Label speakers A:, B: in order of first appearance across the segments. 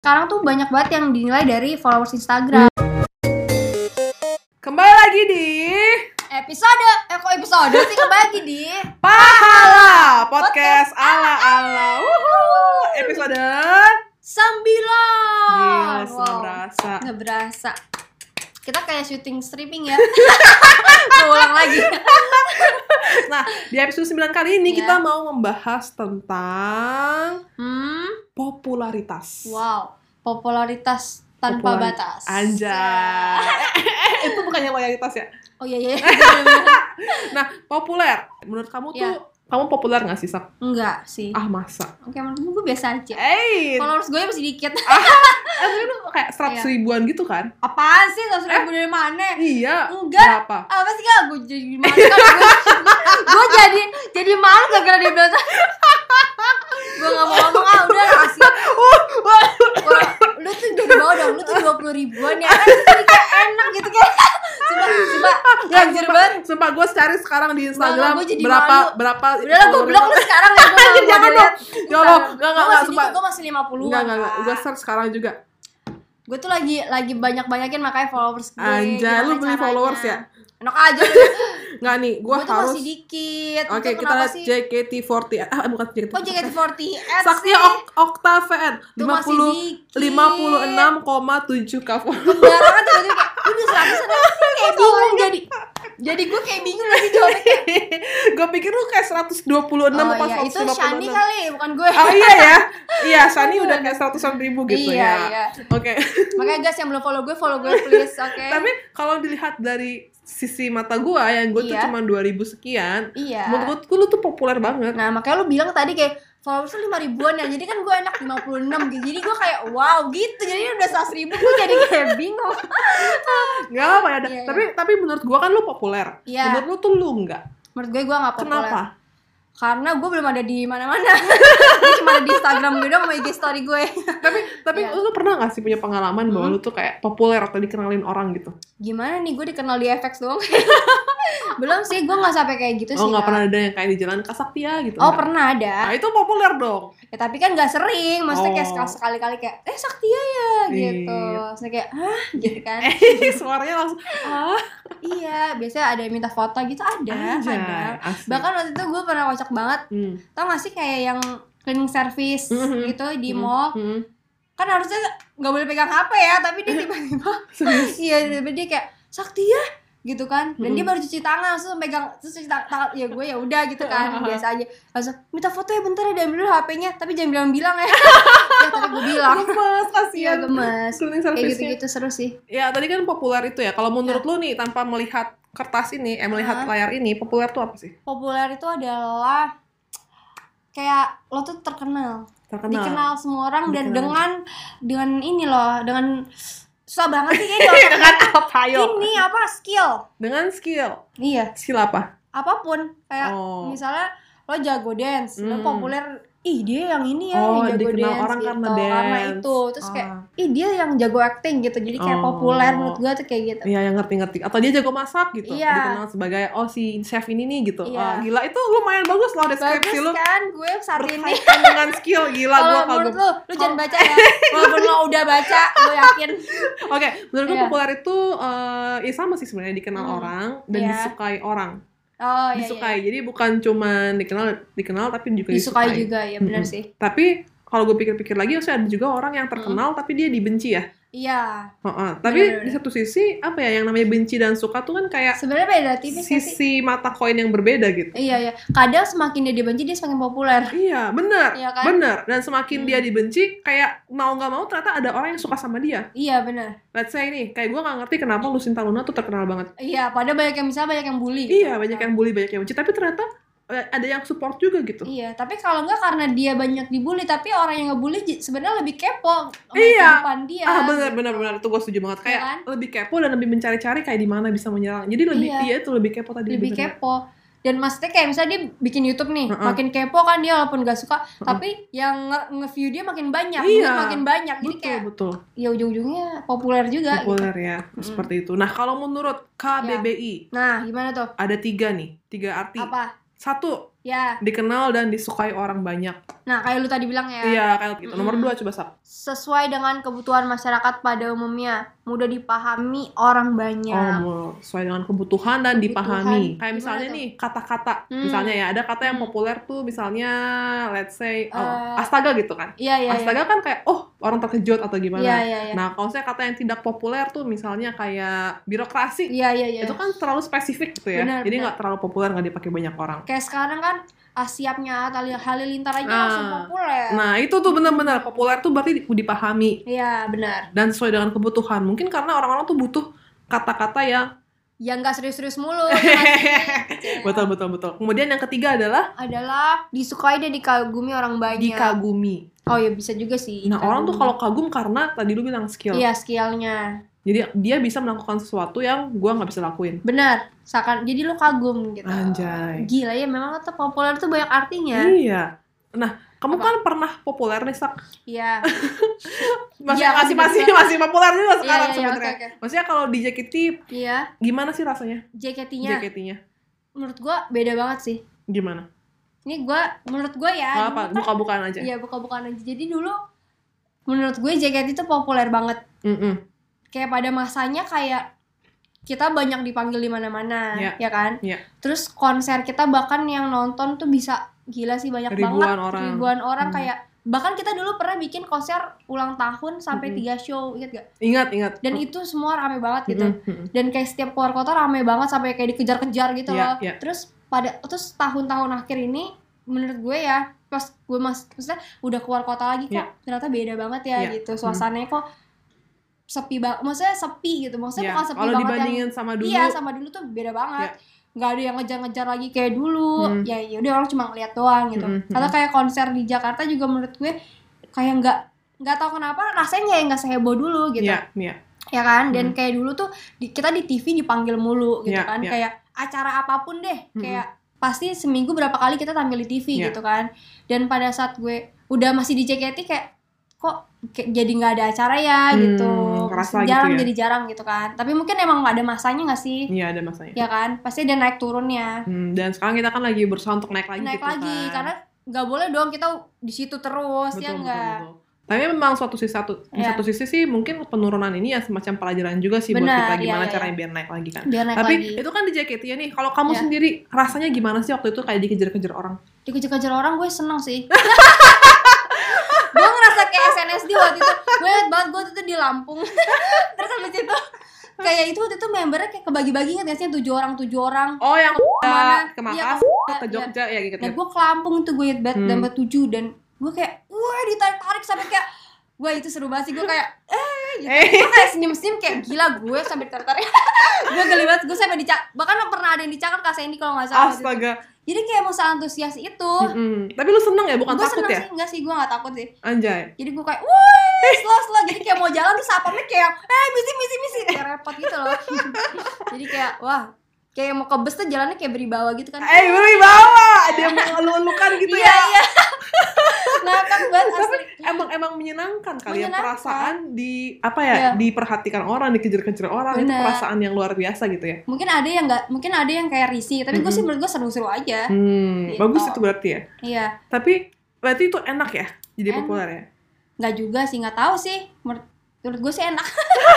A: sekarang tuh banyak banget yang dinilai dari followers Instagram.
B: Kembali lagi di
A: Episode, eh kok episode sih kebagi di
B: Pahala Podcast ala ala Wuhuu. episode
A: sembilan.
B: gila wow. berasa
A: Nggak berasa. Kita kayak syuting streaming ya. Ulang lagi.
B: Nah di episode 9 kali ini
A: Iya.
B: kita mau membahas tentang
A: Hmm,
B: popularitas.
A: wow. Popularitas tanpa
B: Populari-
A: batas.
B: Anjay. Eh, Itu bukannya loyalitas ya.
A: Oh iya iya.
B: Nah populer, menurut kamu tuh
A: Iya.
B: kamu populer nggak sih sak?
A: Enggak sih.
B: Ah masa?
A: Oke, menurut gue biasa aja.
B: Eh,
A: Followers gue masih dikit.
B: tapi lu kayak seratus
A: Iya.
B: ribuan gitu kan?
A: Apaan sih? Gak
B: Eh.
A: ribu dari mana?
B: Iya.
A: Eh, Enggak.
B: Berapa?
A: apa sih kak gue jadi malu kan gue jadi jadi malu gak gara dia bilang gue gak mau ngomong ah udah kasih Wah, lu tuh dari bawah dong lu tuh dua puluh ribuan ya kan jadi kayak enak gitu kayak coba coba
B: Nggak,
A: anjir
B: sumpah-
A: banget
B: Sumpah gue cari sekarang di Instagram
A: gua jadi
B: berapa
A: malu.
B: berapa
A: udah lah gue blok lu sekarang ya gue
B: Anjir, jangan dong. Ya Allah, enggak enggak enggak sumpah.
A: gue masih lima puluh
B: Enggak enggak enggak, gue search sekarang juga.
A: gue tuh lagi lagi banyak banyakin makanya followers gue
B: Anjay, lu
A: Gimana
B: beli
A: caranya?
B: followers ya?
A: enak aja lu.
B: Enggak nih, gue
A: gue tuh
B: harus
A: masih dikit Lu
B: Oke,
A: tuh
B: kita
A: kenapa
B: lihat
A: sih?
B: JKT48. Ah, bukan JKT.
A: Oh JKT48
B: Sakti oh,
A: sih.
B: Ok- Okta VN
A: Tuh masih dikit.
B: 50 56,7 k
A: Sembarangan tiba-tiba kayak Udah seratusan apa sih Kayak bingung jadi Jadi gue kayak bingung lagi jawabnya kayak
B: Gue pikir lu kayak 126
A: Oh
B: apa
A: iya itu
B: 156.
A: Shani kali bukan gue
B: Oh iya ya. Iya, Shani udah kayak seratusan ribu gitu
A: Iya,
B: ya.
A: iya.
B: Oke.
A: Makanya guys yang belum follow gue Follow gue please oke
B: Tapi kalau dilihat dari sisi mata gua yang gue tuh
A: Iya.
B: cuma 2000 sekian,
A: Iya
B: menurut gue lu tuh populer banget.
A: Nah makanya lu bilang tadi kayak Followers tuh 5 ribuan ya Jadi kan gue enak 56 gitu Jadi gue kayak wow gitu Jadi udah 100 ribu gue jadi kayak bingung
B: Enggak apa ya.
A: Iya,
B: tapi tapi menurut gua kan lu populer.
A: Iya.
B: Menurut lu tuh lu enggak.
A: Menurut gue gue gak populer
B: Kenapa?
A: Karena gue belum ada di mana-mana Gue cuma ada di Instagram gue doang sama IG story gue
B: Tapi tapi
A: Iya.
B: lu pernah gak sih punya pengalaman bahwa
A: Hmm.
B: lu tuh kayak populer atau dikenalin orang gitu?
A: gimana nih gue dikenal di FX doang belum sih gue nggak sampai kayak gitu
B: oh,
A: sih
B: nggak
A: Kak.
B: pernah ada yang kayak di jalan Kasaktia gitu.
A: oh
B: nggak?
A: pernah ada
B: Nah, itu populer dong.
A: ya tapi kan nggak sering maksudnya kayak
B: Oh.
A: sekal- sekali-kali kayak eh Saktia ya gitu
B: Iya.
A: maksudnya kayak hah gitu kan
B: Eh, suaranya langsung ah,
A: iya biasanya ada yang minta foto gitu ada
B: anjay,
A: ada
B: asik.
A: bahkan waktu itu gue pernah kocak banget
B: Hmm.
A: tau gak sih kayak yang cleaning service
B: Mhm.
A: gitu di
B: Hmm.
A: mall
B: Hmm.
A: kan harusnya nggak boleh pegang HP ya tapi dia tiba-tiba
B: Serius.
A: iya tiba-tiba dia kayak Saktia gitu kan dan dia baru
B: Mm-mm.
A: cuci tangan langsung megang terus cuci tang- tangan ya gue ya udah gitu kan biasa aja langsung minta foto ya bentar ya diambil dulu HP-nya tapi jangan bilang-bilang ya ya tapi gue bilang
B: Gemes,
A: iya
B: kasihan.
A: gemes
B: Cleaning
A: kayak
B: service-nya.
A: gitu-gitu seru sih
B: Ya tadi kan populer itu ya. Kalau menurut lu nih tanpa melihat kertas ini, eh
A: Ah.
B: melihat layar ini, populer tuh apa sih?
A: populer itu adalah kayak lo tuh terkenal dikenal semua orang dan
B: Dikenal.
A: dengan dengan ini loh dengan susah banget sih kayaknya di
B: Dengan apa
A: otak.
B: yo?
A: ini Kan, apa skill
B: Dengan skill.
A: iya
B: Skill apa?
A: apapun kayak
B: Oh.
A: Ya, misalnya lo jago dance lo
B: Hmm.
A: populer ih dia yang ini ya
B: Oh,
A: yang jago
B: dikenal
A: dance
B: orang
A: gitu
B: karena dance.
A: itu terus kayak
B: Ah.
A: ih dia yang jago acting gitu jadi kayak
B: Oh.
A: populer menurut gue tuh kayak gitu
B: Iya yang ngerti-ngerti atau dia jago masak gitu
A: Iya.
B: dikenal sebagai oh si chef ini nih gitu
A: Iya.
B: Wah, gila itu lumayan bagus loh deskripsi
A: bagus
B: lu
A: kan gue saat ini
B: berkaitan dengan skill gila gua
A: kalau
B: kagum
A: menurut lo lo jangan baca ya walaupun lo udah baca gue yakin
B: oke menurut gua
A: Iya.
B: populer itu eh ya sama sih sebenarnya dikenal
A: Hmm.
B: orang dan
A: Iya.
B: disukai orang
A: oh iya, iya
B: disukai jadi bukan cuman dikenal dikenal tapi juga
A: disukai
B: disukai
A: juga ya benar
B: Mm-mm.
A: sih
B: tapi kalau gue pikir-pikir lagi maksudnya ada juga orang yang terkenal tapi dia dibenci ya
A: iya
B: Heeh. tapi
A: Bener-bener.
B: di satu sisi apa ya yang namanya benci dan suka tuh kan kayak
A: sebenarnya beda tipis nggak sih
B: sisi mata koin yang berbeda gitu
A: iya iya kadang semakin dia dibenci dia semakin populer
B: iya bener
A: Iya kan?
B: bener dan semakin
A: Hmm.
B: dia dibenci kayak mau nggak mau ternyata ada orang yang suka sama dia
A: iya benar
B: let's say nih kayak gue nggak ngerti kenapa Lucinta Luna tuh terkenal banget
A: iya padahal banyak yang misalnya banyak yang bully
B: iya banyak yang bully banyak yang benci tapi ternyata eh, ada yang support juga gitu
A: Iya, tapi kalau enggak karena dia banyak dibully, tapi orang yang ngebully j- sebenarnya lebih kepo sama
B: Iya.
A: kehidupan dia.
B: ah bener bener bener itu gue setuju banget
A: kan? Iya
B: kayak
A: kan?
B: lebih kepo dan lebih mencari-cari kayak di mana bisa menyerang jadi lebih
A: Iya.
B: iya itu lebih kepo tadi
A: Lebih
B: bener.
A: kepo. Dan maksudnya kayak misalnya dia bikin YouTube nih,
B: Mm-mm.
A: makin kepo kan dia walaupun gak suka, tapi yang nge- nge-view dia makin banyak,
B: Iya.
A: view makin banyak. Jadi
B: betul
A: kayak
B: betul
A: ya ujung-ujungnya populer juga. gitu.
B: populer ya seperti itu nah kalau menurut KBBI
A: Nah, gimana tuh?
B: ada tiga nih tiga arti
A: Apa?
B: Satu,
A: ya
B: dikenal dan disukai orang banyak.
A: nah kayak lu tadi bilang ya
B: Iya, kayak gitu. Nomor
A: Mm-mm.
B: dua coba Sap.
A: sesuai dengan kebutuhan masyarakat pada umumnya mudah dipahami orang banyak
B: Oh, sesuai dengan kebutuhan dan
A: Iya. Kebutuhan.
B: dipahami. Kayak
A: Gimana
B: misalnya
A: tuh?
B: nih, kata-kata.
A: Hmm.
B: Misalnya ya, ada kata yang
A: Hmm.
B: populer tuh misalnya let's say oh,
A: Eh,
B: astaga gitu kan.
A: iya iya iya.
B: astaga kan kayak oh, orang terkejut atau gimana.
A: iya iya iya
B: Nah, kalau saya kata yang tidak populer tuh misalnya kayak birokrasi.
A: iya iya iya
B: Itu kan terlalu spesifik gitu ya.
A: Benar,
B: Jadi
A: benar.
B: nggak terlalu populer nggak dipakai banyak orang.
A: kayak sekarang kan ah, siapnya Tali- halilintar aja
B: Nah.
A: langsung populer
B: Nah, itu tuh benar-benar populer tuh berarti dipahami
A: iya benar
B: dan sesuai dengan kebutuhan. Mungkin karena orang-orang tuh butuh kata-kata yang
A: ya nggak serius-serius mulu ngasih.
B: betul betul betul. Kemudian yang ketiga adalah
A: adalah disukai dan dikagumi orang banyak
B: dikagumi.
A: oh ya bisa juga sih
B: Nah, orang tuh
A: dikagumi.
B: kalau kagum karena tadi lu bilang skill.
A: iya skillnya
B: Jadi dia bisa melakukan sesuatu yang gua nggak bisa lakuin.
A: benar seakan jadi lu kagum gitu
B: Anjay.
A: gila ya memang tuh populer tuh banyak artinya
B: Iya. Nah, kamu
A: Apa?
B: kan pernah populer nih, Sak.
A: iya
B: Masih
A: Iya,
B: masih masih
A: bener.
B: masih populer nih
A: iya
B: sekarang
A: iya iya oke
B: sebenarnya.
A: oke
B: Maksudnya kalau di JKT
A: iya
B: gimana sih rasanya?
A: JKT-nya
B: JKT-nya
A: menurut gua beda banget sih
B: gimana?
A: ini gua menurut gua ya
B: Nggak
A: dulu
B: apa,
A: kan-
B: buka-bukaan aja.
A: iya buka-bukaan aja jadi dulu menurut gue JKT itu populer banget
B: Mm-mm.
A: kayak pada masanya kayak kita banyak dipanggil di mana-mana,
B: Iya.
A: ya kan?
B: Iya.
A: Terus konser kita bahkan yang nonton tuh bisa gila sih banyak banget
B: Ribuan orang.
A: ribuan orang
B: Hmm.
A: kayak bahkan kita dulu pernah bikin konser ulang tahun sampai
B: Mm-mm.
A: tiga show, ingat gak?
B: Ingat, ingat.
A: Dan itu semua rame banget gitu.
B: Mm-mm, mm-mm.
A: Dan kayak setiap keluar kota rame banget sampai kayak dikejar-kejar gitu
B: Iya,
A: loh.
B: iya.
A: Terus pada terus tahun-tahun akhir ini menurut gue ya pas gue mas maksudnya udah keluar kota lagi kok
B: Iya.
A: ternyata beda banget ya
B: Iya.
A: gitu suasananya kok sepi banget maksudnya sepi gitu maksudnya
B: Iya.
A: bukan sepi
B: Kalau
A: banget yang-
B: dibandingin sama dulu, Iya.
A: iya sama dulu tuh beda banget nggak ada yang ngejar-ngejar lagi kayak dulu
B: Hmm.
A: ya ya udah orang cuma ngeliat doang gitu
B: Hmm, hmm,
A: atau kayak konser di Jakarta juga menurut gue kayak nggak nggak tahu kenapa rasanya kayak nggak seheboh dulu gitu
B: iya, iya.
A: ya kan dan
B: Hmm.
A: kayak dulu tuh di, kita di TV dipanggil mulu gitu
B: Ya,
A: kan
B: ya.
A: kayak acara apapun deh
B: Mm-mm.
A: kayak pasti seminggu berapa kali kita tampil di TV
B: Ya.
A: gitu kan dan pada saat gue udah masih di JKT kayak kok kayak jadi nggak ada acara ya
B: Hmm,
A: gitu
B: kerasa gitu
A: jarang
B: ya.
A: jadi jarang gitu kan tapi mungkin emang nggak ada masanya nggak sih
B: Iya, ada masanya.
A: ya kan pasti ada naik turunnya
B: Hmm, dan sekarang kita kan lagi berusaha untuk naik lagi
A: naik
B: gitu
A: lagi
B: kan.
A: karena nggak boleh dong kita di situ terus
B: betul,
A: ya
B: betul,
A: nggak
B: betul. Tapi memang suatu sisi satu di
A: Iya.
B: satu sisi sih mungkin penurunan ini ya semacam pelajaran juga sih buat
A: Benar,
B: kita
A: iya,
B: gimana
A: iya,
B: caranya biar naik lagi kan.
A: biar naik
B: Tapi
A: lagi
B: itu kan di JKT ya nih. Kalau kamu
A: Iya.
B: sendiri rasanya gimana sih waktu itu kayak dikejar-kejar orang?
A: dikejar-kejar orang gue seneng sih gue ngerasa kayak SNSD waktu itu gue inget banget gue waktu itu di Lampung terus habis itu kayak itu waktu itu membernya kayak kebagi-bagi nggak sih tujuh orang tujuh orang
B: Oh, yang
A: Kemana?
B: ke
A: Iya,
B: Makassar, ke
A: iya.
B: Jogja ya gitu.
A: nah gue ke Lampung tuh gue inget banget
B: Hmm.
A: dapat tujuh dan gue kayak wah ditarik-tarik sampai kayak gue itu seru banget sih gue kayak
B: Eh,
A: gue kayak senyum-senyum kayak gila gue sampai ditarik-tarik gue geli banget gitu. gue sampai dicak bahkan pernah ada yang dicakar kak Sandy kalau nggak salah waktu itu.
B: astaga.
A: jadi kayak mau antusias itu
B: Mm-mm. Tapi lu seneng ya bukan
A: gue
B: takut
A: seneng
B: ya?
A: sih enggak sih gue nggak takut sih
B: Anjay.
A: jadi gue kayak wuih slow slow jadi kayak mau jalan tuh sapamnya kayak eh misi misi misi kayak repot gitu loh jadi kayak wah kayak mau ke bus tuh jalannya kayak beribawa gitu kan
B: Eh, beri bawa. Dia mengeluh-elukan gitu
A: iya
B: ya.
A: iya ngakak banget
B: Tapi
A: asli
B: emang emang menyenangkan kali ya
A: Menyenangkan.
B: perasaan di apa ya,
A: Iya.
B: diperhatikan orang, dikejar-kejar orang, itu
A: Benar.
B: perasaan yang luar biasa gitu ya.
A: mungkin ada yang nggak mungkin ada yang kayak risih tapi gue sih
B: Mm-mm.
A: menurut gue seru-seru aja
B: Hmm,
A: Gitu.
B: bagus itu berarti ya.
A: iya
B: Tapi berarti itu enak ya jadi
A: Enak.
B: populer ya.
A: nggak juga sih nggak tahu sih menurut, menurut gue sih enak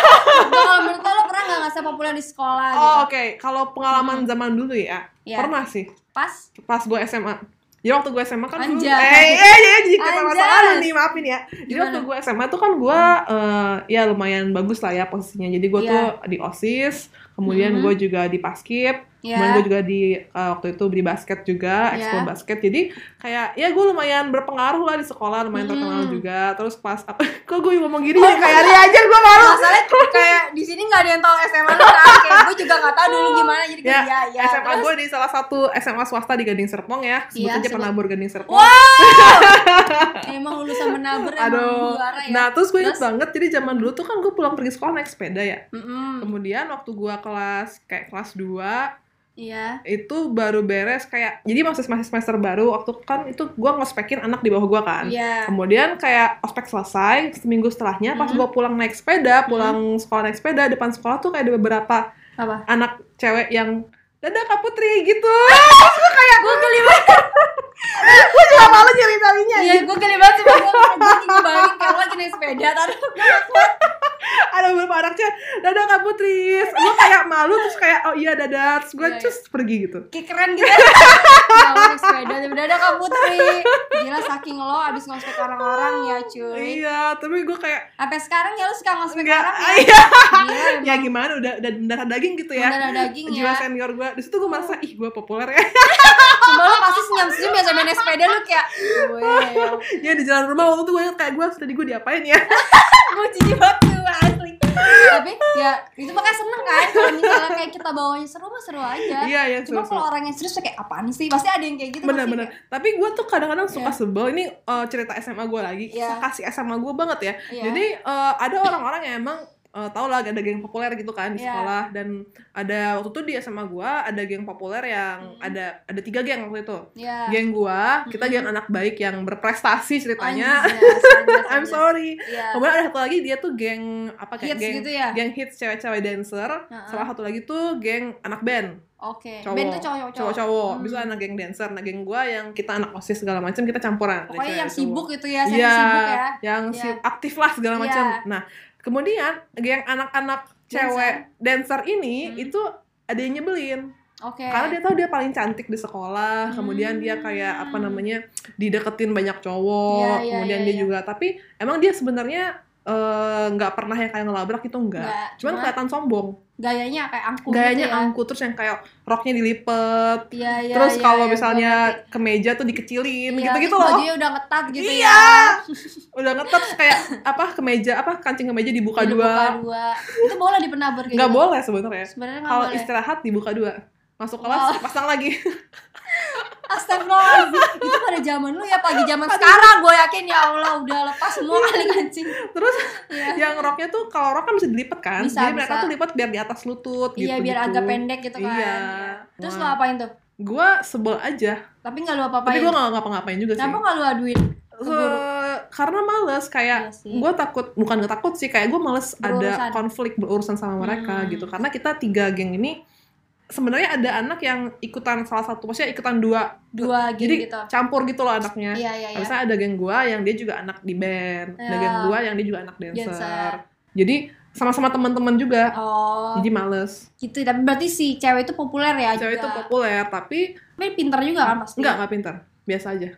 A: kalau menurut lo, lo pernah nggak ngerasa populer di sekolah
B: Oh,
A: gitu Hmm.
B: oke. Kalau pengalaman zaman dulu ya,
A: Iya.
B: pernah sih
A: pas
B: pas gue SMA. Jadi waktu gue SMA kan dulu-
A: Anjas.
B: eh, eh, eh, jadi kita
A: Anjas.
B: masa lalu nih, maafin ya.
A: Gimana?
B: Jadi
A: Hmm.
B: waktu gue SMA tuh kan gue eh, ya lumayan bagus lah ya posisinya. Jadi gue
A: Iya.
B: tuh di OSIS, kemudian
A: Mhm.
B: gue juga di Paskib, kemudian gue
A: ya
B: juga di eh, waktu itu di basket juga,
A: Iya.
B: ekskul basket. Jadi kayak ya gue lumayan berpengaruh lah di sekolah, lumayan terkenal
A: Mhm.
B: juga. Terus pas apa? Kok gue ngomong gini
A: Oh,
B: ya kayak Ria aja gue malu.
A: masalahnya kayak di sini nggak ada yang tahu SMA lo kan kayak gue juga nggak tahu dulu gimana jadi
B: Ya,
A: kayak ya ya,
B: SMA
A: terus-
B: gue di salah satu SMA swasta di Gading Serpong ya. Sebut
A: Iya,
B: aja
A: sebut.
B: penabur Gading Serpong.
A: emang lulusan menabur emang
B: Aduh.
A: juara ya
B: Nah, terus gue inget
A: Terus?
B: banget. Jadi zaman dulu tuh kan gue pulang pergi sekolah naik sepeda ya.
A: Mm-mm.
B: Kemudian waktu gue kelas kayak kelas 2
A: iya
B: itu baru beres kayak jadi masih masih semester baru waktu kan itu gue ngospekin anak di bawah gue kan.
A: iya
B: Kemudian kayak ospek selesai seminggu setelahnya pas
A: Mhm.
B: gue pulang naik
A: Hmm.
B: sepeda, pulang sekolah naik sepeda depan sekolah tuh kayak ada beberapa
A: Apa?
B: anak cewek yang dadah Kak Putri gitu terus gue kayak
A: gue geli banget
B: gue juga malu nyeritainnya
A: iya gue geli banget cuma gue gue ngebayangin kalau lo jenis sepeda tadi
B: ada beberapa anak cewek dadah Kak Putri gue kayak malu terus kayak oh iya dadah terus gue
A: Iya, iya.
B: cus pergi gitu
A: kayak keren gitu ya lo naik sepeda tapi dadah Kak Putri gila saking lo abis ngospek orang-orang ya cuy
B: iya tapi gue kayak
A: sampai sekarang ya lo suka ngospek
B: enggak
A: orang ya
B: iya
A: gila
B: ya gimana udah udah mendarah daging gitu ya
A: Mendarah daging ya. Oh.
B: jiwa senior gue di situ gue merasa ih gue populer ya
A: cuma lo pasti senyum-senyum ya sampai naik sepeda lo kayak gue
B: ya di jalan rumah waktu itu gue ingat kayak gue tadi gue diapain ya
A: gue jijik banget tuh, asli tapi ya itu makanya seneng kan kalau misalnya kayak kita bawanya seru mah seru aja
B: iya iya
A: Eh, cuma
B: seru-seru.
A: kalau orang yang serius tuh kayak apaan sih pasti ada yang kayak gitu pasti
B: benar-benar
A: kayak-
B: tapi gue tuh kadang-kadang suka sebel ini uh, cerita SMA gue lagi
A: Iya.
B: kasih SMA gue banget ya
A: Iya.
B: jadi uh, ada orang-orang yang emang uh, tau lah ada geng populer gitu kan di
A: Iya.
B: sekolah dan ada waktu itu di SMA gue ada geng populer yang
A: Hmm.
B: ada ada tiga geng waktu itu
A: ya
B: geng gue kita
A: Mm-mm.
B: geng anak baik yang berprestasi ceritanya
A: Anjir, standar,
B: I'm
A: standar.
B: sorry
A: Iya.
B: kemudian ada satu lagi dia tuh geng apa
A: hits
B: kayak geng
A: gitu ya
B: geng hits cewek-cewek dancer
A: Heeh.
B: salah satu lagi tuh geng anak band
A: oke
B: cowok.
A: band tuh cowok cowok
B: cowok-cowok bisa
A: Hmm.
B: anak geng dancer anak geng gua yang kita anak osis segala macam kita campuran Ada
A: pokoknya
B: cewek,
A: yang
B: cowok.
A: sibuk gitu ya saya
B: Iya,
A: sibuk ya
B: yang
A: Iya.
B: sibuk, aktif lah segala
A: Iya.
B: macam nah kemudian geng anak-anak cewek dancer ini
A: Hmm. Iya.
B: itu ada yang nyebelin
A: oke
B: karena dia tahu dia paling cantik di sekolah kemudian dia kayak apa
A: Hmm.
B: namanya dideketin banyak
A: Iya,
B: cowok
A: iya,
B: kemudian
A: iya,
B: dia
A: iya.
B: juga tapi emang dia sebenarnya eh, nggak pernah yang kayak ngelabrak itu enggak
A: Nggak,
B: cuman
A: cuma
B: kelihatan sombong
A: gayanya kayak angkuh
B: gayanya
A: gitu ya.
B: angku terus yang kayak roknya dilipet
A: Iya, iya,
B: Terus
A: iya,
B: kalau
A: iya,
B: misalnya
A: gua
B: kemeja tuh dikecilin
A: ngerti. Iya,
B: gitu-gitu
A: terus
B: loh.
A: bajunya udah ngetat gitu
B: Iya.
A: ya
B: Udah ngetep kayak apa kemeja apa kancing kemeja dibuka
A: Dibuka
B: dua.
A: Iya, dua itu boleh dipenabur kayak
B: Nggak
A: gitu.
B: boleh sebenarnya.
A: sebenarnya nggak
B: Kalau
A: boleh Oh.
B: istirahat dibuka dua. Masuk kelas pasang lagi.
A: Astagfirullahaladzim Itu pada zaman lu ya Pagi zaman sekarang Gue yakin ya Allah Udah lepas semua
B: Iya,
A: kali kancing
B: Terus
A: Iya
B: yang roknya tuh kalau rok kan bisa dilipet kan.
A: Bisa,
B: Jadi mereka
A: bisa.
B: tuh lipat biar di atas lutut gitu.
A: Iya biar agak pendek gitu kan
B: Iya.
A: Iya. Terus lo
B: Wah.
A: apain tuh?
B: Gua sebel aja.
A: Tapi gak lu
B: Tapi
A: apa-apain?
B: gua nggak ngapa-ngapain juga sih.
A: Kenapa gak lu aduin? keburu?
B: Eh, karena males kayak
A: Iya sih
B: gue takut bukan gak takut sih kayak gue males ada
A: Berurusan.
B: konflik berurusan sama mereka
A: Hmm.
B: gitu karena kita tiga geng ini sebenarnya ada anak yang ikutan salah satu maksudnya ikutan dua
A: Dua
B: jadi
A: gini gitu
B: campur gitu loh anaknya
A: Iya iya iya
B: misalnya ada geng gue yang dia juga anak di band ada
A: Ya.
B: geng gue yang dia juga anak
A: Iya,
B: dancer,
A: Dancer.
B: jadi sama-sama teman-teman juga
A: Oh
B: jadi males
A: gitu Tapi berarti si cewek itu populer ya
B: cewek itu
A: juga.
B: populer tapi
A: Tapi pinter juga kan pasti
B: nggak nggak pintar biasa aja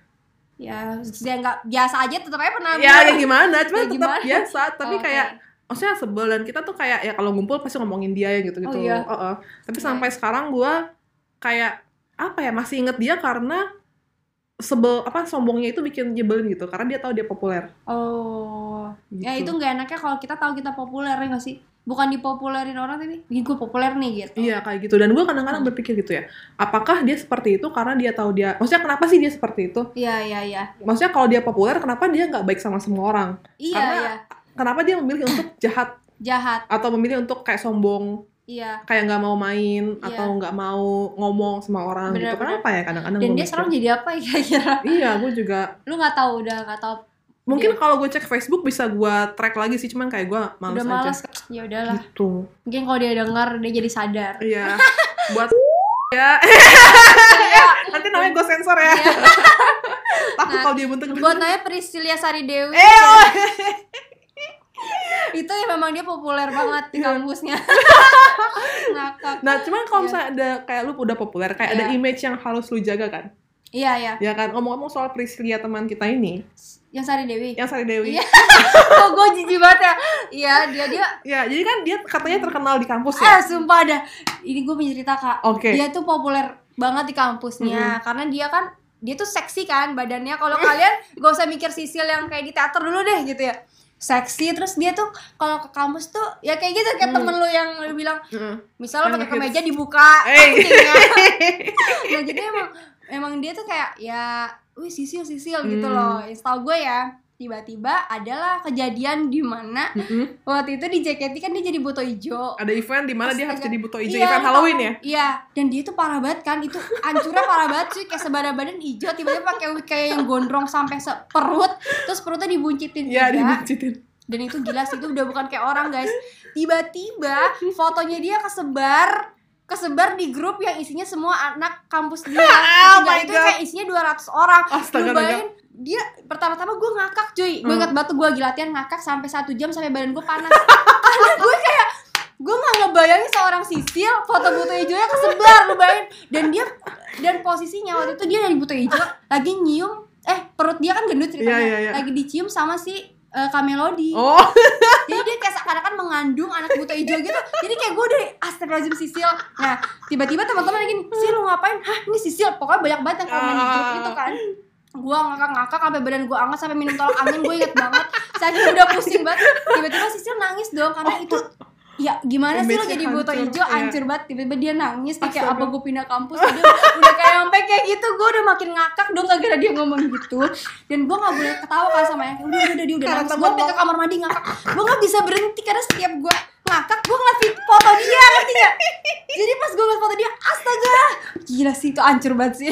A: Ya dia nggak biasa aja tetap aja pernah
B: ya, ya gimana cuma
A: Ya
B: tetap
A: gimana? eh.
B: biasa tapi kayak maksudnya sebel dan kita tuh kayak ya kalau ngumpul pasti ngomongin dia ya gitu gitu
A: Oh, iya.
B: tapi
A: Iya.
B: sampai sekarang gua kayak apa ya masih inget dia karena sebel apa sombongnya itu bikin nyebelin gitu karena dia tahu dia populer
A: Oh
B: gitu.
A: Ya itu nggak enaknya kalau kita tahu kita populer ya nggak sih? Bukan dipopulerin orang tapi "Ih, gue populer nih gitu.
B: iya kayak gitu dan gua kadang-kadang berpikir gitu ya apakah dia seperti itu karena dia tahu dia maksudnya kenapa sih dia seperti itu
A: Iya iya iya.
B: maksudnya kalau dia populer kenapa dia nggak baik sama semua orang
A: Iya
B: Karena-
A: iya.
B: kenapa dia memilih untuk jahat
A: Jahat.
B: atau memilih untuk kayak sombong
A: Iya.
B: kayak nggak mau main
A: Iya.
B: atau nggak mau ngomong sama orang gitu
A: Benar-benar.
B: kenapa ya kadang-kadang
A: Dan
B: gua
A: dia
B: mikir.
A: sekarang jadi apa ya kira-kira?
B: Iya, gue juga.
A: Lu nggak tahu udah nggak tahu.
B: Mungkin kalau gue cek Facebook bisa gue track lagi sih, cuman kayak gue males,
A: Iya. udah malas.
B: aja.
A: Ya udahlah.
B: Gitu.
A: Mungkin kalau dia dengar dia jadi sadar.
B: Iya. Buat ya. Nanti namanya gue sensor
A: Iya.
B: ya. Takut
A: Nah,
B: kalau dia bentuk.
A: Buat namanya Priscilia Sari Dewi.
B: Eh, oh.
A: Itu ya memang dia populer banget di
B: Iya.
A: kampusnya. Ngakak.
B: Nah, cuman kalau
A: Iya.
B: misalnya ada kayak lu udah populer, kayak ada
A: Iya.
B: image yang harus lu jaga kan.
A: Iya iya.
B: Ya kan. Ngomong-ngomong soal Priscilia teman kita ini,
A: Yang Sari Dewi.
B: yang Sari Dewi.
A: Iya. Kok gue jijik banget ya? Iya dia dia
B: Ya, jadi kan dia katanya terkenal di kampus ya.
A: Eh sumpah ada Ini gue punya cerita kak
B: Oke.
A: Dia tuh populer banget di kampusnya Karena dia kan Dia tuh seksi kan badannya Kalau kalian gak usah mikir sisil yang kayak di teater dulu deh gitu ya Seksi terus dia tuh kalau ke kampus tuh ya kayak gitu kayak
B: Hmm.
A: temen lu yang lu bilang
B: Heeh.
A: misal lo
B: Yang
A: pakai
B: ngehits.
A: kemeja dibuka
B: Eh.
A: kancingnya. nah jadi emang emang dia tuh kayak ya wih sisil sisil gitu
B: Hmm.
A: loh Setahu gue ya tiba-tiba adalah kejadian di mana
B: Mm-mm.
A: waktu itu di JKT kan dia jadi buto hijau
B: Ada event di mana dia harus
A: Astaga.
B: jadi buto hijau
A: Iya,
B: event
A: lu
B: Halloween
A: tahu.
B: ya.
A: Iya, dan dia itu parah banget kan, itu hancurnya parah banget sih kayak sebada badan hijau tiba-tiba pakai wig kayak yang gondrong sampai seperut, terus perutnya dibuncitin
B: Iya,
A: juga.
B: dibuncitin.
A: Dan itu gila sih, itu udah bukan kayak orang, guys. Tiba-tiba fotonya dia kesebar kesebar di grup yang isinya semua anak kampus dia
B: Oh
A: Ketika
B: my
A: itu
B: God.
A: kayak isinya 200 orang
B: Astaga,
A: Lu bayangin dia pertama-tama gue ngakak cuy gue
B: Hmm.
A: ingat batu gue lagi latihan ngakak sampai satu jam sampai badan gue panas karena gue kayak gue nggak ngebayangin seorang sisil foto buto hijaunya kesebar lu bayangin dan dia dan posisinya waktu itu dia dari buto hijau lagi nyium eh perut dia kan gendut ceritanya
B: Iya, iya, iya.
A: lagi dicium sama si eh, kamelodi
B: oh
A: jadi dia kayak seakan-akan mengandung anak buta hijau gitu jadi kayak gue dari astagfirullahaladzim sisil nah tiba-tiba teman-teman lagi nih sil lu ngapain hah ini sisil pokoknya banyak banget yang komen di
B: Ah.
A: grup itu kan gue ngakak-ngakak sampai badan gue anget sampai minum tolak angin gue inget banget saking udah pusing banget tiba-tiba sisil nangis dong karena itu ya gimana sih lo
B: Oh, Image-nya
A: jadi buta
B: hancur,
A: hijau
B: iya.
A: hancur banget tiba-tiba dia nangis dia kayak
B: Astaga.
A: apa gue pindah kampus dia udah kayak sampai kayak gitu gue udah makin ngakak dong gara-gara dia ngomong gitu dan gue nggak boleh ketawa kan sama yang udah udah udah dia udah
B: Karena
A: nangis gue
B: temen
A: sampai
B: lo.
A: ke kamar mandi ngakak gue nggak bisa berhenti karena setiap gue ngakak gue ngeliatin foto dia ngerti gak jadi pas gue ngeliat foto dia astaga gila sih itu hancur banget sih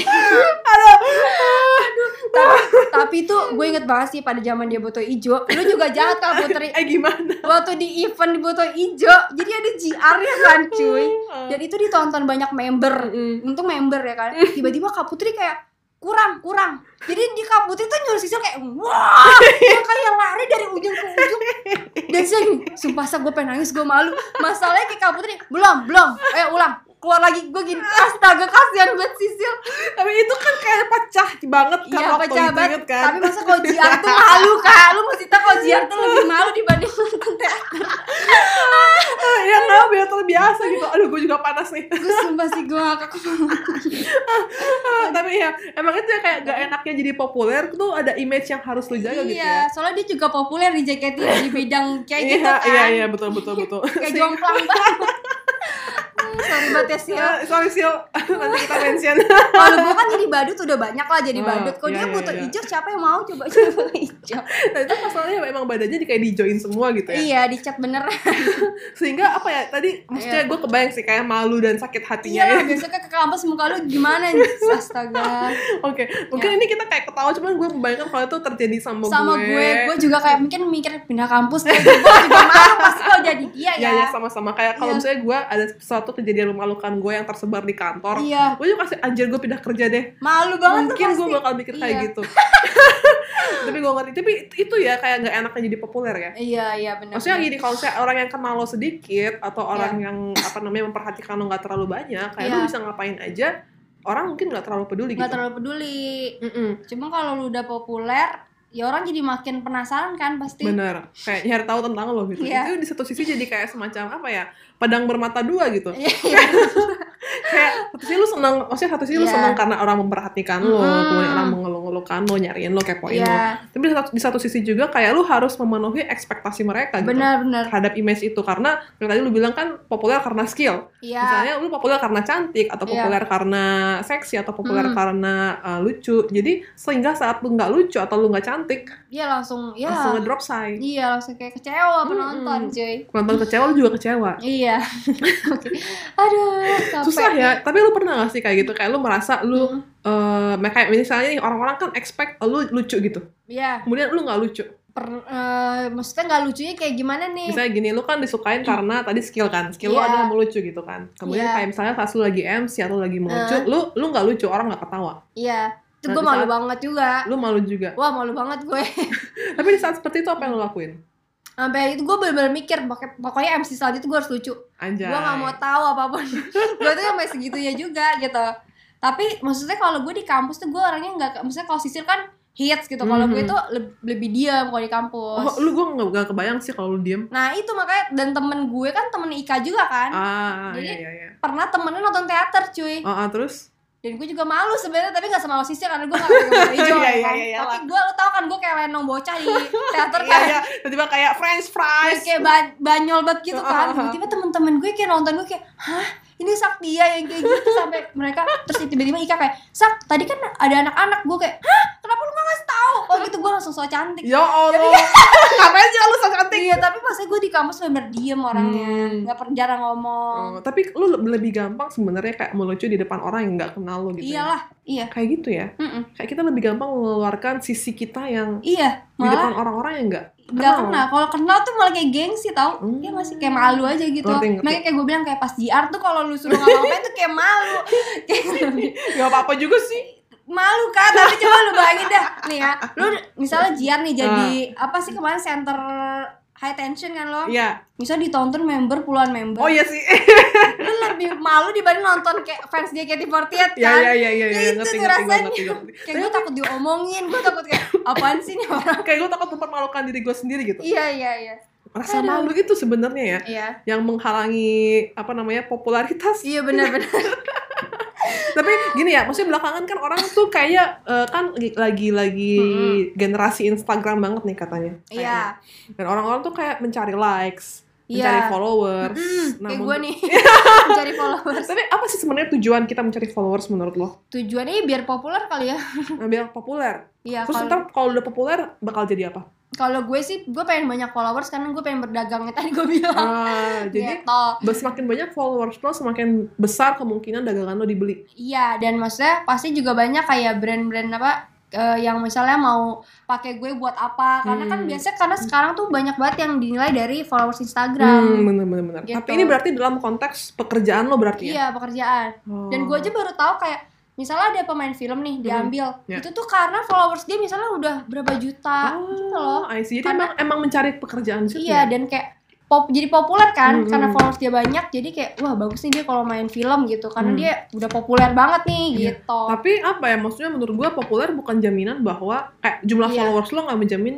A: tapi, tapi itu gue inget banget sih pada zaman dia butuh ijo lu juga jahat kan putri
B: eh gimana
A: waktu di event di Boto Ijo jadi ada GR nya kan cuy dan itu ditonton banyak member
B: Mm.
A: untung member ya kan tiba-tiba Kak Putri kayak kurang kurang jadi di Kak Putri tuh nyuruh Sisil kayak wah dia kayak lari dari ujung ke ujung dan sih sumpah gue pengen nangis gue malu masalahnya kayak Kak Putri belum belum eh ulang keluar lagi gue gini astaga kasihan buat Sisil
B: tapi itu kan kayak pecah banget kan
A: Iya
B: waktu
A: pecah
B: itu,
A: banget.
B: inget kan
A: Tapi masa kalau JR tuh malu kak Lu mesti tau kalau JR tuh lebih malu dibanding nonton teater
B: Ah, ya nggak biar terbiasa gitu aduh gue juga panas nih
A: Gue sumpah sih gue ngakak
B: Ah, tapi ya emang itu ya kayak gak enaknya jadi populer tuh ada image yang harus lu jaga gitu ya
A: Iya soalnya dia juga populer di JKT Di bidang kayak gitu
B: iya,
A: kan
B: iya iya betul betul betul
A: Kayak jomplang banget Hmm, Sorry banget ya Sil
B: Ah, sorry Sil nanti kita mention
A: Kalau gue kan jadi badut udah banyak lah jadi
B: Ah,
A: badut Kalau
B: iya,
A: dia
B: iya,
A: butuh
B: iya.
A: hijau siapa yang mau coba coba hijau
B: nah itu masalahnya emang badannya di- kayak dijoin semua gitu ya
A: Iya dicat bener
B: sehingga apa ya tadi maksudnya gue kebayang sih kayak malu dan sakit hatinya
A: Iya
B: ya
A: lah besoknya ke kampus muka lu gimana nih? Astaga
B: Oke, mungkin ini kita kayak ketawa cuman gue membayangkan kalau itu terjadi sama,
A: Ya. sama gue
B: gue.
A: gue juga kayak mungkin mikir pindah kampus gue juga juga malu pasti kalau jadi dia ya
B: Ya, ya sama-sama kayak kalau
A: Iya.
B: misalnya gue ada suatu kejadian memalukan gue yang tersebar di kantor,
A: Iya.
B: gue juga kasih anjir gue pindah kerja deh.
A: malu banget tuh
B: Mungkin gue
A: pasti
B: bakal mikir kayak
A: Iya.
B: gitu. tapi gue ngerti. Tapi itu ya kayak nggak enaknya jadi populer ya.
A: iya iya benar
B: Maksudnya gitu, gini, kalau misalnya orang yang kenal lo sedikit atau orang yang apa namanya memperhatikan lo nggak terlalu banyak, kayak lo
A: Iya.
B: bisa ngapain aja, orang mungkin nggak terlalu peduli
A: nggak
B: gitu.
A: terlalu peduli
B: Mm-mm.
A: cuma kalau lu udah populer ya orang jadi makin penasaran kan pasti
B: bener kayak nyari tahu tentang lo gitu
A: Iya.
B: itu di satu sisi jadi kayak semacam apa ya pedang bermata dua gitu
A: Iya, iya.
B: kayak satu sisi lu seneng maksudnya satu sisi lu
A: Iya.
B: seneng karena orang memperhatikan lo
A: Mm.
B: kemudian orang mengeluh-ngeluhkan lo nyariin lo kepoin
A: Iya.
B: lo tapi di satu, di satu sisi juga kayak lu harus memenuhi ekspektasi mereka gitu
A: benar benar
B: terhadap image itu karena yang tadi lu bilang kan populer karena skill
A: iya
B: misalnya lu populer karena cantik atau
A: Iya.
B: populer karena seksi atau populer
A: Mm.
B: karena uh, lucu jadi sehingga saat lu nggak lucu atau lu nggak cantik
A: iya langsung iya
B: langsung ngedrop say
A: iya langsung kayak kecewa
B: Mm-mm.
A: penonton cuy
B: nonton kecewa lu juga kecewa
A: iya oke aduh capek.
B: susah ya tapi lu pernah gak sih kayak gitu kayak lu merasa lu
A: Mm.
B: eh kayak misalnya nih orang-orang kan expect lu lucu gitu
A: iya
B: kemudian lu nggak lucu
A: per, eh, maksudnya nggak lucunya kayak gimana nih
B: misalnya gini lu kan disukain karena tadi skill kan skill lu
A: Hmm. Iya.
B: adalah melucu gitu kan kemudian
A: Iya.
B: kayak misalnya pas lu lagi MC atau lagi melucu
A: Eh.
B: lu lu nggak lucu orang nggak ketawa
A: iya itu
B: Nah,
A: gue
B: di
A: malu
B: saat-
A: banget juga
B: lu malu juga
A: wah malu banget gue
B: tapi di saat seperti itu apa yang lu lakuin
A: sampai itu gue bener-bener mikir pokoknya- pokoknya MC selanjutnya itu gue harus lucu
B: anjay
A: gue nggak mau tahu apapun gue tuh sampai segitunya juga gitu tapi maksudnya kalau gue di kampus tuh gue orangnya nggak maksudnya kalau sisil kan hits gitu kalau gue
B: Mhm.
A: tuh leb- lebih diam kalau di kampus
B: oh, lu gue nggak nggak kebayang sih kalau lu diem
A: nah itu makanya dan temen gue kan temen Ika juga kan
B: ah
A: Jadi-
B: iya iya iya
A: pernah temennya nonton teater cuy
B: oh, ah, terus
A: dan gue juga malu sebenarnya tapi gak semalu sisir karena gue gak pakai baju hijau
B: Iya,
A: ya
B: iya,
A: kan
B: iya,
A: tapi gue lo tau kan gue kayak lenong bocah di teater
B: iya
A: kan
B: iya tiba-tiba kayak french fries
A: kayak ba- banyol banget gitu kan
B: Heeh.
A: tiba-tiba temen-temen gue kayak nonton gue kayak hah ini sak dia yang kayak gitu sampai mereka terus tiba-tiba Ika kayak sak tadi kan ada anak-anak gue kayak hah kenapa lu gak ngasih tau oh gitu gue langsung so cantik
B: ya allah Hmm. ngapain sih lu so cantik
A: iya tapi maksudnya gue di kampus bener diem orangnya
B: Hmm.
A: nggak per jarang ngomong
B: Oh, tapi lu le- lebih gampang sebenarnya kayak melucu di depan orang yang nggak kenal lu gitu. ya.
A: iyalah iya
B: Kayak gitu ya.
A: Mm-mm.
B: Kayak kita lebih gampang mengeluarkan sisi kita yang
A: iya
B: di
A: malah
B: depan orang-orang yang nggak
A: nggak
B: Kenal.
A: kenal kalau kenal tuh malah kayak gengsi tau
B: Hmm.
A: ya masih kayak malu aja gitu
B: Ngerti, ngerti.
A: makanya kayak gue bilang kayak pas JR tuh kalau lu suruh ngapa-ngapain tuh kayak malu Kayak-
B: Gak apa-apa juga sih.
A: malu kan tapi coba lu bayangin dah nih ya lu misalnya JR nih jadi
B: Ah.
A: apa sih kemarin center high tension kan lo
B: Iya.
A: misalnya ditonton member puluhan member
B: Oh iya sih.
A: lu lebih malu dibanding nonton kayak fans JKT48 kan
B: Iya iya iya iya.
A: Ya,
B: iya.
A: itu tuh
B: Ngerti, ngerti, gua
A: rasanya.
B: ngerti, gua ngerti.
A: kayak gue takut diomongin gue takut kayak apaan sih nih orang
B: Kayak gue takut mempermalukan diri gue sendiri gitu.
A: iya iya iya
B: Rasa
A: Aduh.
B: malu itu sebenarnya ya
A: iya
B: yang menghalangi apa namanya popularitas.
A: iya benar-benar
B: Tapi gini ya, maksudnya belakangan kan orang tuh kayak eh, kan lagi-lagi
A: Mm-mm.
B: generasi Instagram banget nih katanya.
A: iya
B: Kayaknya. Dan orang-orang tuh kayak mencari likes, mencari
A: iya
B: followers.
A: Mm,
B: Nah,
A: kayak
B: men-
A: gue nih mencari followers
B: Tapi apa sih sebenarnya tujuan kita mencari followers menurut lo?
A: tujuannya ya biar populer kali ya
B: Nah, biar populer.
A: iya
B: Terus
A: kalau
B: ntar kalau udah populer bakal jadi apa?
A: kalau gue sih gue pengen banyak followers karena gue pengen berdagangnya tadi gue bilang
B: Ah, jadi
A: Gitu.
B: semakin banyak followers lo, semakin besar kemungkinan dagangan lo dibeli.
A: Iya, dan maksudnya pasti juga banyak kayak brand-brand apa eh, yang misalnya mau pakai gue buat apa? Karena kan
B: Hmm.
A: biasanya karena sekarang tuh banyak banget yang dinilai dari followers
B: Hmm,
A: Instagram.
B: bener bener bener.
A: Gitu.
B: Tapi ini berarti dalam konteks pekerjaan lo berarti ya?
A: Iya, pekerjaan.
B: Oh.
A: Dan gue aja baru tahu kayak misalnya ada pemain film nih diambil.
B: Ya.
A: Itu tuh karena followers dia misalnya udah berapa juta. gitu loh.
B: Oh, I see. Jadi
A: Karena-
B: emang, emang mencari pekerjaan ya? sih.
A: Iya, dan kayak pop jadi populer kan
B: Hmm.
A: karena followers dia banyak. Jadi kayak wah bagus nih dia kalau main film gitu karena
B: Hmm.
A: dia udah populer banget nih
B: Iya.
A: gitu.
B: Tapi apa ya? Maksudnya menurut gue populer bukan jaminan bahwa kayak jumlah
A: Iya.
B: followers lo nggak menjamin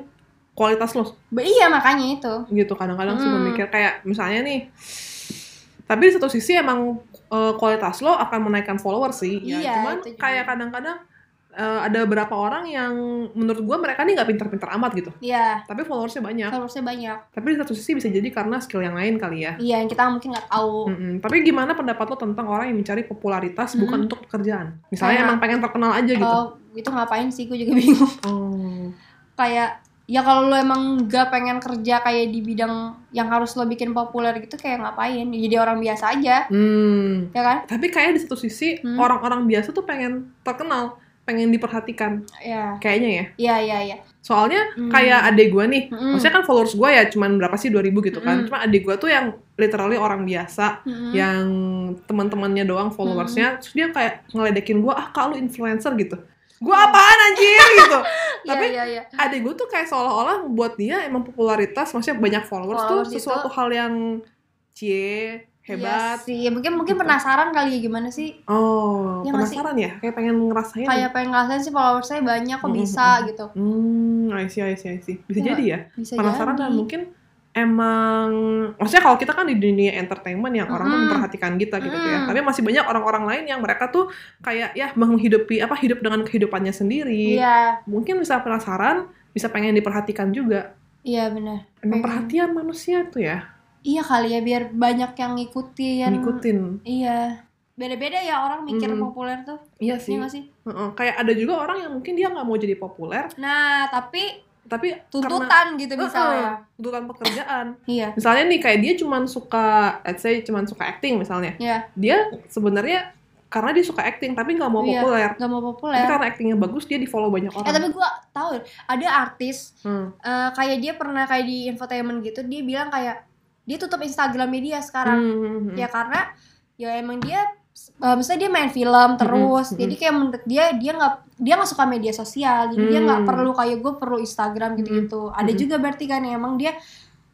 B: kualitas lo
A: Ba- Iya, makanya itu.
B: gitu. Kadang-kadang sih
A: Hmm.
B: gue mikir kayak misalnya nih. Tapi di satu sisi emang eh, kualitas lo akan menaikkan followers sih. Ya,
A: Iya,
B: cuman
A: itu juga.
B: kayak kadang-kadang eh, ada beberapa orang yang menurut gue mereka nih nggak pinter-pinter amat gitu.
A: Iya,
B: Tapi followersnya banyak.
A: followersnya banyak.
B: Tapi di satu sisi bisa jadi karena skill yang lain kali ya.
A: Iya, yang kita mungkin nggak tahu.
B: Mm-mm. Tapi gimana pendapat lo tentang orang yang mencari popularitas
A: Mm.
B: bukan untuk pekerjaan? Misalnya
A: Kayak-
B: emang pengen terkenal aja gitu.
A: Oh, itu ngapain sih? Gue juga bingung.
B: Oh.
A: kayak ya kalau lo emang nggak pengen kerja kayak di bidang yang harus lo bikin populer gitu kayak ngapain? Ya Jadi orang biasa aja,
B: Hmm.
A: ya kan?
B: Tapi kayak di satu sisi
A: Hmm.
B: orang-orang biasa tuh pengen terkenal, pengen diperhatikan
A: Ya,
B: kayaknya ya.
A: ya, ya, ya.
B: Soalnya
A: Hmm.
B: kayak adek gue nih,
A: Mm-mm.
B: maksudnya kan followers gue ya cuman berapa sih 2000 gitu kan.
A: Mm.
B: Cuma adek gue tuh yang literally orang biasa
A: Mm-mm.
B: yang teman-temannya doang
A: Hmm.
B: followersnya terus dia kayak ngeledekin gue ah kalau influencer gitu gue
A: Hmm.
B: apaan anjir gitu
A: Ya,
B: tapi
A: ya, ya.
B: adik gue tuh kayak seolah-olah buat dia emang popularitas maksudnya banyak followers
A: Followers gitu.
B: tuh
A: itu-
B: sesuatu hal yang cie
A: Iya
B: hebat
A: sih. Ya, mungkin mungkin
B: Gitu.
A: penasaran kali ya gimana sih
B: oh
A: Iya nggak sih?
B: penasaran ya kayak pengen ngerasain
A: kayak pengen ngerasain sih followers saya banyak kok
B: Mm-mm.
A: bisa gitu.
B: hmm I see, I see, I see. bisa
A: Iya.
B: jadi ya
A: Bisa
B: penasaran dan
A: jadi.
B: mungkin emang maksudnya kalau kita kan di dunia entertainment yang orang tuh
A: Mm-mm.
B: memperhatikan kita gitu tuh ya
A: Mm-mm.
B: tapi masih banyak orang-orang lain yang mereka tuh kayak ya menghidupi apa hidup dengan kehidupannya sendiri
A: Iya,
B: mungkin bisa penasaran bisa pengen diperhatikan juga
A: iya benar.
B: emang
A: Pengen.
B: perhatian manusia tuh ya
A: Iya kali ya biar banyak yang ngikutin.
B: ngikutin
A: Iya. Beda-beda ya orang mikir
B: Mm.
A: populer tuh.
B: iya
A: Iya nggak sih?
B: Heeh, kayak ada juga orang yang mungkin dia nggak mau jadi populer
A: Nah, tapi
B: tapi karena
A: tuntutan gitu misalnya.
B: tuntutan pekerjaan
A: Iya.
B: misalnya nih kayak dia cuman suka let's say cuman suka acting misalnya
A: Iya.
B: dia sebenarnya karena dia suka acting tapi nggak mau
A: Iya,
B: populer
A: Gak mau
B: tapi
A: populer.
B: karena actingnya bagus dia di follow banyak orang
A: Eh tapi gua tahu ada artis
B: Hmm.
A: eh, kayak dia pernah kayak di infotainment gitu dia bilang kayak dia tutup Instagramnya dia sekarang
B: Hmm, hmm, hmm.
A: ya karena ya emang dia eh, misalnya dia main film
B: Hmm,
A: terus
B: mm-mm.
A: jadi kayak menurut dia dia nggak dia nggak suka media sosial jadi dia nggak
B: Hmm.
A: perlu kayak gue perlu Instagram gitu gitu ada
B: mm-mm.
A: juga berarti kan ya, emang dia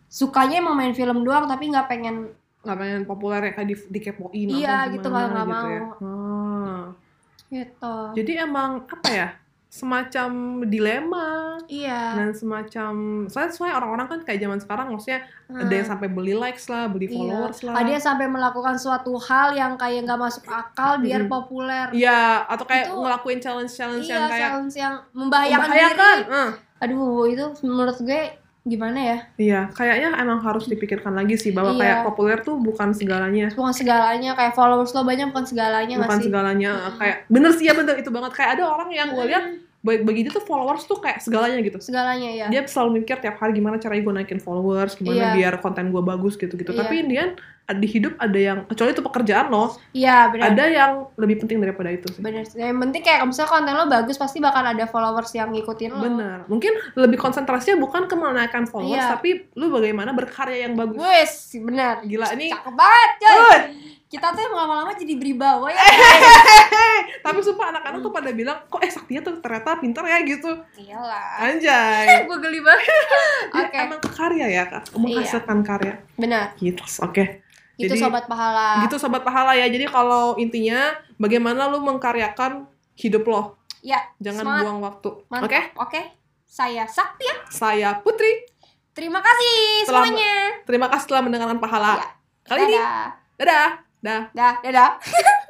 A: sukanya emang main film doang tapi nggak pengen
B: nggak pengen populer ya kayak di, dikepoin apa
A: Iya, gitu,
B: gimana
A: nggak- nggak
B: ya.
A: mau.
B: Ah.
A: gitu
B: jadi emang apa ya semacam dilema
A: iya
B: dan semacam soalnya, soalnya orang-orang kan kayak zaman sekarang maksudnya ada
A: Hmm.
B: yang sampai beli likes lah beli
A: Iya.
B: followers lah
A: ada yang sampai melakukan suatu hal yang kayak nggak masuk akal biar
B: Mm-mm.
A: populer
B: Hmm. Iya, atau kayak
A: Itu-
B: ngelakuin challenge-challenge
A: iya
B: yang kayak
A: challenge yang membahayakan
B: membahayakan.
A: diri
B: Eh,
A: aduh itu menurut gue gimana ya
B: Iya, kayaknya emang harus dipikirkan lagi sih bahwa
A: Iya.
B: kayak populer tuh bukan segalanya.
A: bukan segalanya kayak followers lo banyak bukan segalanya Iya nggak
B: bukan
A: sih
B: segalanya
A: Mm-mm. Iya.
B: kayak bener sih ya bener itu banget kayak ada orang yang gue lihat bagi bagi dia tuh followers tuh kayak segalanya gitu
A: segalanya ya
B: dia selalu mikir tiap hari gimana caranya gue naikin followers
A: Iya.
B: gimana biar konten gue bagus gitu gitu
A: Iya.
B: tapi Indian di hidup ada yang kecuali itu pekerjaan lo
A: iya benar
B: ada yang lebih penting daripada itu sih
A: benar yang penting kayak misalnya konten lo bagus pasti bakal ada followers yang ngikutin lo
B: benar mungkin lebih konsentrasinya bukan ke menaikkan followers
A: Iya.
B: tapi lu bagaimana berkarya yang bagus
A: wes benar
B: gila ini
A: cakep banget coy
B: Wih.
A: kita tuh lama-lama jadi beribawa ya
B: Eh. tapi sumpah anak-anak tuh pada bilang kok eh Saktia tuh ternyata pinter ya gitu
A: iyalah
B: anjay
A: gue Iya geli banget
B: Dia
A: oke Iya.
B: emang karya ya kak menghasilkan karya
A: benar
B: gitu oke
A: itu
B: Jadi-
A: sobat pahala
B: gitu sobat pahala ya jadi kalau intinya bagaimana lu mengkaryakan hidup lo
A: ya
B: jangan
A: Semangat.
B: buang waktu oke
A: mantap oke saya Sakti
B: saya Putri
A: terima kasih
B: Telah-
A: semuanya Iya.
B: terima kasih telah mendengarkan pahala
A: Ya.
B: kali ini
A: dadah
B: dadah dah
A: dah dadah